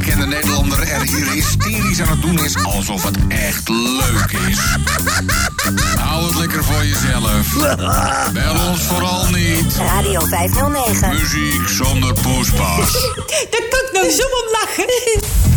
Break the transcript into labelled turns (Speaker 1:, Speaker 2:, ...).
Speaker 1: Nederlander er hier hysterisch aan het doen is alsof het echt leuk is. Hou het lekker voor jezelf. Bel ons vooral niet.
Speaker 2: Radio 509.
Speaker 1: Muziek zonder poespas.
Speaker 3: Daar kan ik nou zo om lachen.